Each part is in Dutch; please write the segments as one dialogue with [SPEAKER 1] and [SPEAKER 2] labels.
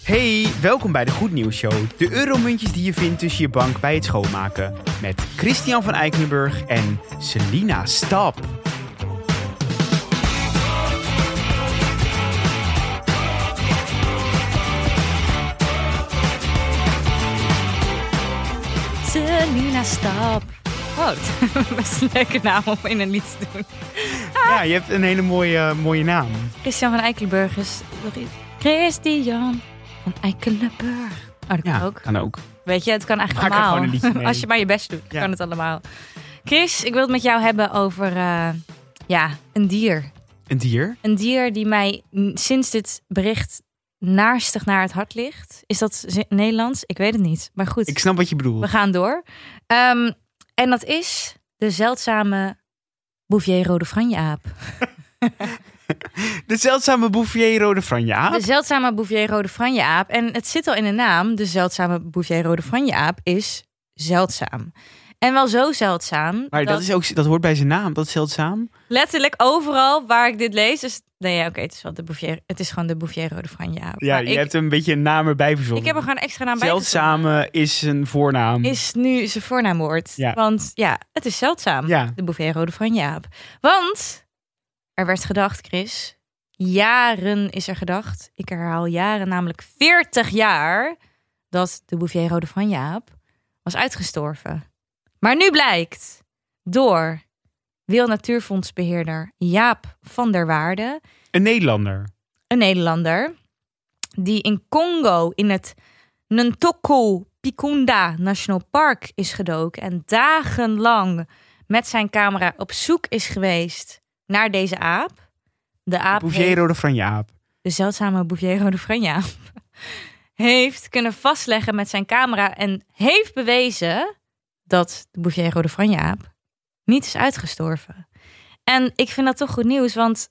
[SPEAKER 1] Hey, welkom bij de Goed Nieuws Show. De euromuntjes die je vindt tussen je bank bij het schoonmaken. Met Christian van Eikelenburg en Selina Stap.
[SPEAKER 2] Selina Stap. Goed. Best een leuke naam om in een lied te doen.
[SPEAKER 1] Ja, je hebt een hele mooie, eh, mooie naam.
[SPEAKER 2] Christian van Eikelenburg is nog iets. Christian van Eikelenburg. Oh, dat kan
[SPEAKER 1] Ja,
[SPEAKER 2] ook.
[SPEAKER 1] kan ook.
[SPEAKER 2] Weet je, het kan eigenlijk
[SPEAKER 1] Maak er
[SPEAKER 2] allemaal.
[SPEAKER 1] gewoon een liedje mee.
[SPEAKER 2] Als je maar je best doet,
[SPEAKER 1] Ja.
[SPEAKER 2] kan het allemaal. Chris, ik wil het met jou hebben over eh, ja, een dier.
[SPEAKER 1] Een dier?
[SPEAKER 2] Een dier die mij n- sinds dit bericht naarstig naar het hart ligt. Is dat Zi- Nederlands? Ik weet het niet. Maar goed.
[SPEAKER 1] Ik snap wat je bedoelt.
[SPEAKER 2] We gaan door. Ehm, en dat is de zeldzame Bouvier Rode Franjeaap.
[SPEAKER 1] De zeldzame Bouvier Rode Franje aap.
[SPEAKER 2] De zeldzame Bouvier Rode Franjeaap. En het zit al in de naam. De zeldzame Bouvier Rode Franjeaap is zeldzaam. En wel zo zeldzaam.
[SPEAKER 1] Maar dat,
[SPEAKER 2] dat
[SPEAKER 1] is ook, dat hoort bij zijn naam, dat is zeldzaam.
[SPEAKER 2] letterlijk overal waar ik dit lees. Is, nee, ja, oké, het is wel de Bouvier. Het is gewoon de Bouvier Rode Franjeaap.
[SPEAKER 1] Ja,
[SPEAKER 2] Maar
[SPEAKER 1] je
[SPEAKER 2] ik,
[SPEAKER 1] hebt een beetje een naam erbij verzonnen.
[SPEAKER 2] ik heb er gewoon een extra naam bij. gezonden.
[SPEAKER 1] Zeldzame is een voornaam.
[SPEAKER 2] Is nu zijn voornaamwoord.
[SPEAKER 1] Ja.
[SPEAKER 2] Want ja, het is zeldzaam.
[SPEAKER 1] Ja,
[SPEAKER 2] de Bouvier Rode van Jaap. Want er werd gedacht, Chris, jaren is er gedacht. Ik herhaal jaren, namelijk 40 jaar, dat de Bouvier Rode van Jaap was uitgestorven. Maar nu blijkt door Wil Natuurfondsbeheerder Jaap van der Waarde,
[SPEAKER 1] een Nederlander.
[SPEAKER 2] een Nederlander, die in Congo in het Ntoko Picunda National Park is gedoken en dagenlang met zijn camera op zoek is geweest naar deze aap. De aap
[SPEAKER 1] Bouvier
[SPEAKER 2] heeft-
[SPEAKER 1] Rode Franje aap.
[SPEAKER 2] de zeldzame Bouvier de Franja heeft kunnen vastleggen met zijn camera en heeft bewezen dat de Bouvier de Franja niet is uitgestorven. En ik vind dat toch goed nieuws, want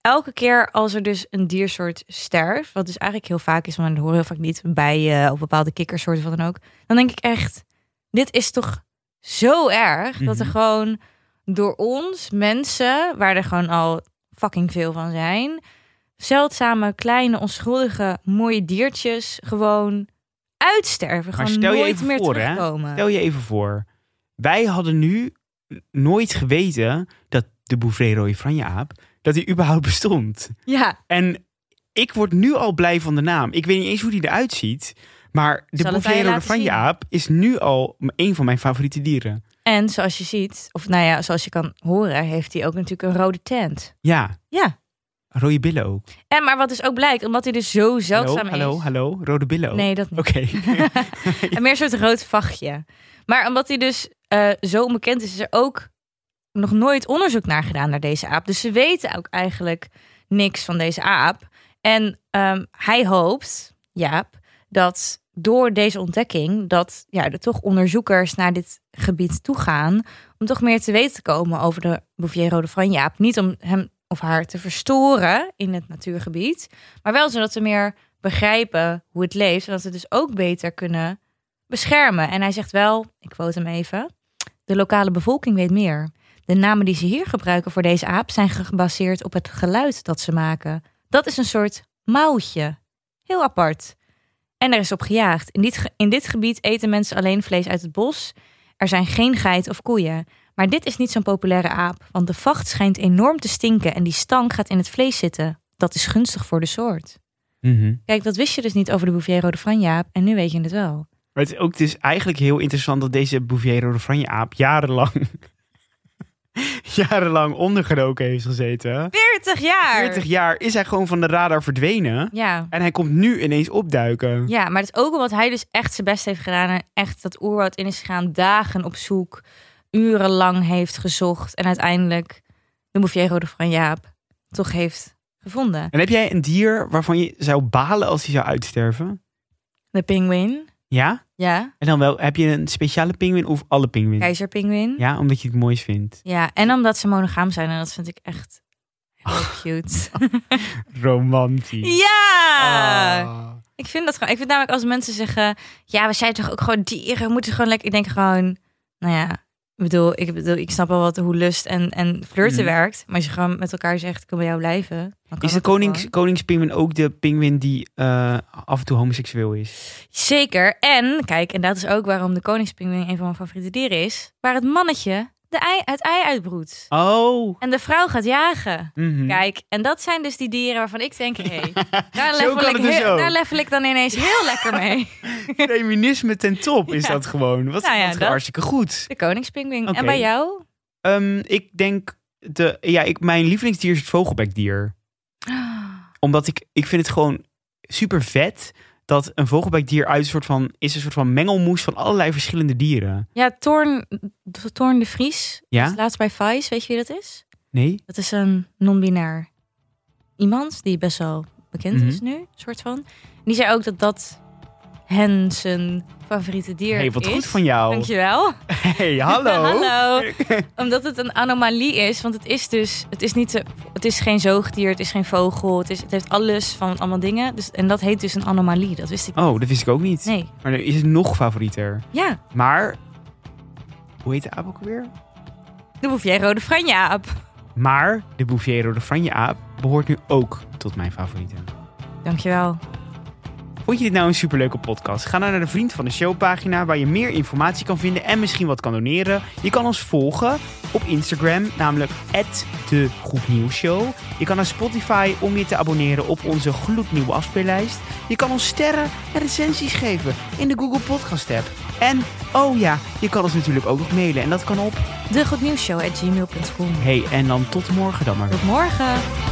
[SPEAKER 2] elke keer als er dus een diersoort sterft, wat dus eigenlijk heel vaak is, maar dat hoor je heel vaak niet bij eh of bepaalde kikkersoorten of wat dan ook, dan denk ik echt, dit is toch zo erg dat er
[SPEAKER 1] Mhm.
[SPEAKER 2] gewoon door ons mensen, waar er gewoon al fucking veel van zijn, zeldzame, kleine, onschuldige, mooie diertjes gewoon uitsterven.
[SPEAKER 1] Maar
[SPEAKER 2] gewoon
[SPEAKER 1] stel je
[SPEAKER 2] nooit
[SPEAKER 1] even
[SPEAKER 2] meer
[SPEAKER 1] voor, hè?
[SPEAKER 2] terugkomen.
[SPEAKER 1] Stel je even voor, wij hadden nu nooit geweten dat de Bouvier Rode Franje aap, dat die überhaupt bestond.
[SPEAKER 2] Ja,
[SPEAKER 1] En ik word nu al blij van de naam. Ik weet niet eens hoe die eruit ziet, maar de
[SPEAKER 2] zal het aan je
[SPEAKER 1] Bouvier Rode
[SPEAKER 2] laten
[SPEAKER 1] Franje
[SPEAKER 2] zien.
[SPEAKER 1] aap is nu al een van mijn favoriete dieren.
[SPEAKER 2] en zoals je ziet, of nou ja, zoals je kan horen, heeft hij ook natuurlijk een rode tent.
[SPEAKER 1] Ja,
[SPEAKER 2] Ja.
[SPEAKER 1] rode billen ook.
[SPEAKER 2] En maar wat dus ook blijkt, omdat hij dus zo
[SPEAKER 1] Hallo,
[SPEAKER 2] zeldzaam is.
[SPEAKER 1] hallo, hallo, rode billen ook.
[SPEAKER 2] Nee, dat niet.
[SPEAKER 1] Oké.
[SPEAKER 2] En meer een soort rood vachtje. Maar omdat hij dus eh, zo onbekend is, is er ook nog nooit onderzoek naar gedaan naar deze aap. Dus ze weten ook eigenlijk niks van deze aap. En ehm, hij hoopt, Jaap, dat door deze ontdekking... dat ja, er toch onderzoekers naar dit gebied toe gaan... om toch meer te weten te komen over de Bouvier-Rode van Jaap. Niet om hem of haar te verstoren in het natuurgebied... maar wel zodat ze meer begrijpen hoe het leeft... zodat ze dus ook beter kunnen beschermen. En hij zegt wel, ik quote hem even... de lokale bevolking weet meer... De namen die ze hier gebruiken voor deze aap zijn gebaseerd op het geluid dat ze maken. Dat is een soort mouwtje. Heel apart. En er is op gejaagd. In dit, ge- in dit gebied eten mensen alleen vlees uit het bos. Er zijn geen geit of koeien. Maar dit is niet zo'n populaire aap, want de vacht schijnt enorm te stinken en die stank gaat in het vlees zitten. Dat is gunstig voor de soort.
[SPEAKER 1] Mhm.
[SPEAKER 2] Kijk, dat wist je dus niet over de Bouvier de Franjaap en nu weet je het wel.
[SPEAKER 1] Maar het is ook dus eigenlijk heel interessant dat deze Bouvier Rode Franje aap jarenlang, jarenlang ondergedoken heeft gezeten.
[SPEAKER 2] 40 jaar!
[SPEAKER 1] 40 jaar is hij gewoon van de radar verdwenen.
[SPEAKER 2] Ja.
[SPEAKER 1] En hij komt nu ineens opduiken.
[SPEAKER 2] Ja, maar het is ook omdat hij dus echt zijn best heeft gedaan en echt dat oerwoud in is gegaan, dagen op zoek, urenlang heeft gezocht en uiteindelijk de Mouviero de Van Jaap toch heeft gevonden.
[SPEAKER 1] En heb jij een dier waarvan je zou balen als hij zou uitsterven?
[SPEAKER 2] De pinguïn,
[SPEAKER 1] Ja?
[SPEAKER 2] ja,
[SPEAKER 1] En dan wel, heb je een speciale pinguïn of alle pinguïns?
[SPEAKER 2] keizerpinguïn. Ja.
[SPEAKER 1] Ja, omdat je het moois vindt.
[SPEAKER 2] en omdat ze monogaam zijn en dat vind ik echt heel cute.
[SPEAKER 1] Romantisch.
[SPEAKER 2] ja!
[SPEAKER 1] Ah.
[SPEAKER 2] Ik vind dat gewoon. Ik vind namelijk als mensen zeggen: ja, we zijn toch ook gewoon dieren, we moeten gewoon lekker. Ik denk gewoon, nou ja, Ik bedoel, ik, bedoel, ik snap wel wat, hoe lust en, en
[SPEAKER 1] Mhm.
[SPEAKER 2] flirten werkt. Maar als je gewoon met elkaar zegt, ik wil bij jou blijven. dan kan
[SPEAKER 1] Is de
[SPEAKER 2] dat ook
[SPEAKER 1] konings,
[SPEAKER 2] gewoon.
[SPEAKER 1] koningspinguïn ook de pinguïn die eh, af en toe homoseksueel is?
[SPEAKER 2] Zeker. En, kijk, en dat is ook waarom de koningspinguïn een van mijn favoriete dieren is. Waar het mannetje de ei, het ei uitbroedt.
[SPEAKER 1] Oh.
[SPEAKER 2] En de vrouw gaat jagen.
[SPEAKER 1] Mhm.
[SPEAKER 2] Kijk, en dat zijn dus die dieren waarvan ik denk, hé, hey, daar,
[SPEAKER 1] Zo
[SPEAKER 2] level
[SPEAKER 1] kan
[SPEAKER 2] ik
[SPEAKER 1] het dus
[SPEAKER 2] heel-
[SPEAKER 1] ook.
[SPEAKER 2] daar level ik dan ineens heel lekker mee.
[SPEAKER 1] Feminisme ten top is
[SPEAKER 2] Ja.
[SPEAKER 1] dat gewoon. Wat,
[SPEAKER 2] Nou ja,
[SPEAKER 1] wat
[SPEAKER 2] dat-
[SPEAKER 1] hartstikke goed.
[SPEAKER 2] De koningspinguïn.
[SPEAKER 1] Oké.
[SPEAKER 2] En bij jou?
[SPEAKER 1] Ehm, ik denk, de, ja, ik, mijn lievelingsdier is het vogelbekdier. Omdat ik, ik vind het gewoon super vet dat een vogelbekdier uit een soort van, is een soort van mengelmoes van allerlei verschillende dieren.
[SPEAKER 2] Ja, Toorn, Toorn de Vries.
[SPEAKER 1] Ja?
[SPEAKER 2] was laatst bij Vice, weet je wie dat is?
[SPEAKER 1] Nee?
[SPEAKER 2] Dat is een non-binair iemand die best wel bekend
[SPEAKER 1] Mhm.
[SPEAKER 2] is nu, soort van. En die zei ook dat dat hen zijn favoriete dier
[SPEAKER 1] hey, wat
[SPEAKER 2] is.
[SPEAKER 1] goed van jou.
[SPEAKER 2] Dankjewel.
[SPEAKER 1] Hey, hallo.
[SPEAKER 2] Hallo. Omdat het een anomalie is, want het is dus, het is niet, de- het is geen zoogdier, het is geen vogel, het, is, het heeft alles van allemaal dingen. Dus, en dat heet dus een anomalie, dat wist ik
[SPEAKER 1] Oh, dat wist ik ook niet.
[SPEAKER 2] Nee,
[SPEAKER 1] Maar er is nog favorieter.
[SPEAKER 2] ja,
[SPEAKER 1] Maar, hoe heet de aap ook weer?
[SPEAKER 2] de Bouvier Rode Franja aap.
[SPEAKER 1] Maar de Bouviero de Franje aap behoort nu ook tot mijn favorieten.
[SPEAKER 2] Dankjewel.
[SPEAKER 1] Vond je dit nou een superleuke podcast? Ga nou naar de Vriend van de Show pagina waar je meer informatie kan vinden en misschien wat kan doneren. Je kan ons volgen op Instagram, namelijk de Goed Nieuws Show. Je kan naar Spotify om je te abonneren op onze gloednieuwe afspeellijst. Je kan ons sterren en recensies geven in de Google Podcast app. En, oh ja, je kan ons natuurlijk ook nog mailen en dat kan op.
[SPEAKER 2] De Goed Nieuws Show at gmail.com.
[SPEAKER 1] Hey, en dan tot morgen dan maar weer.
[SPEAKER 2] Tot morgen.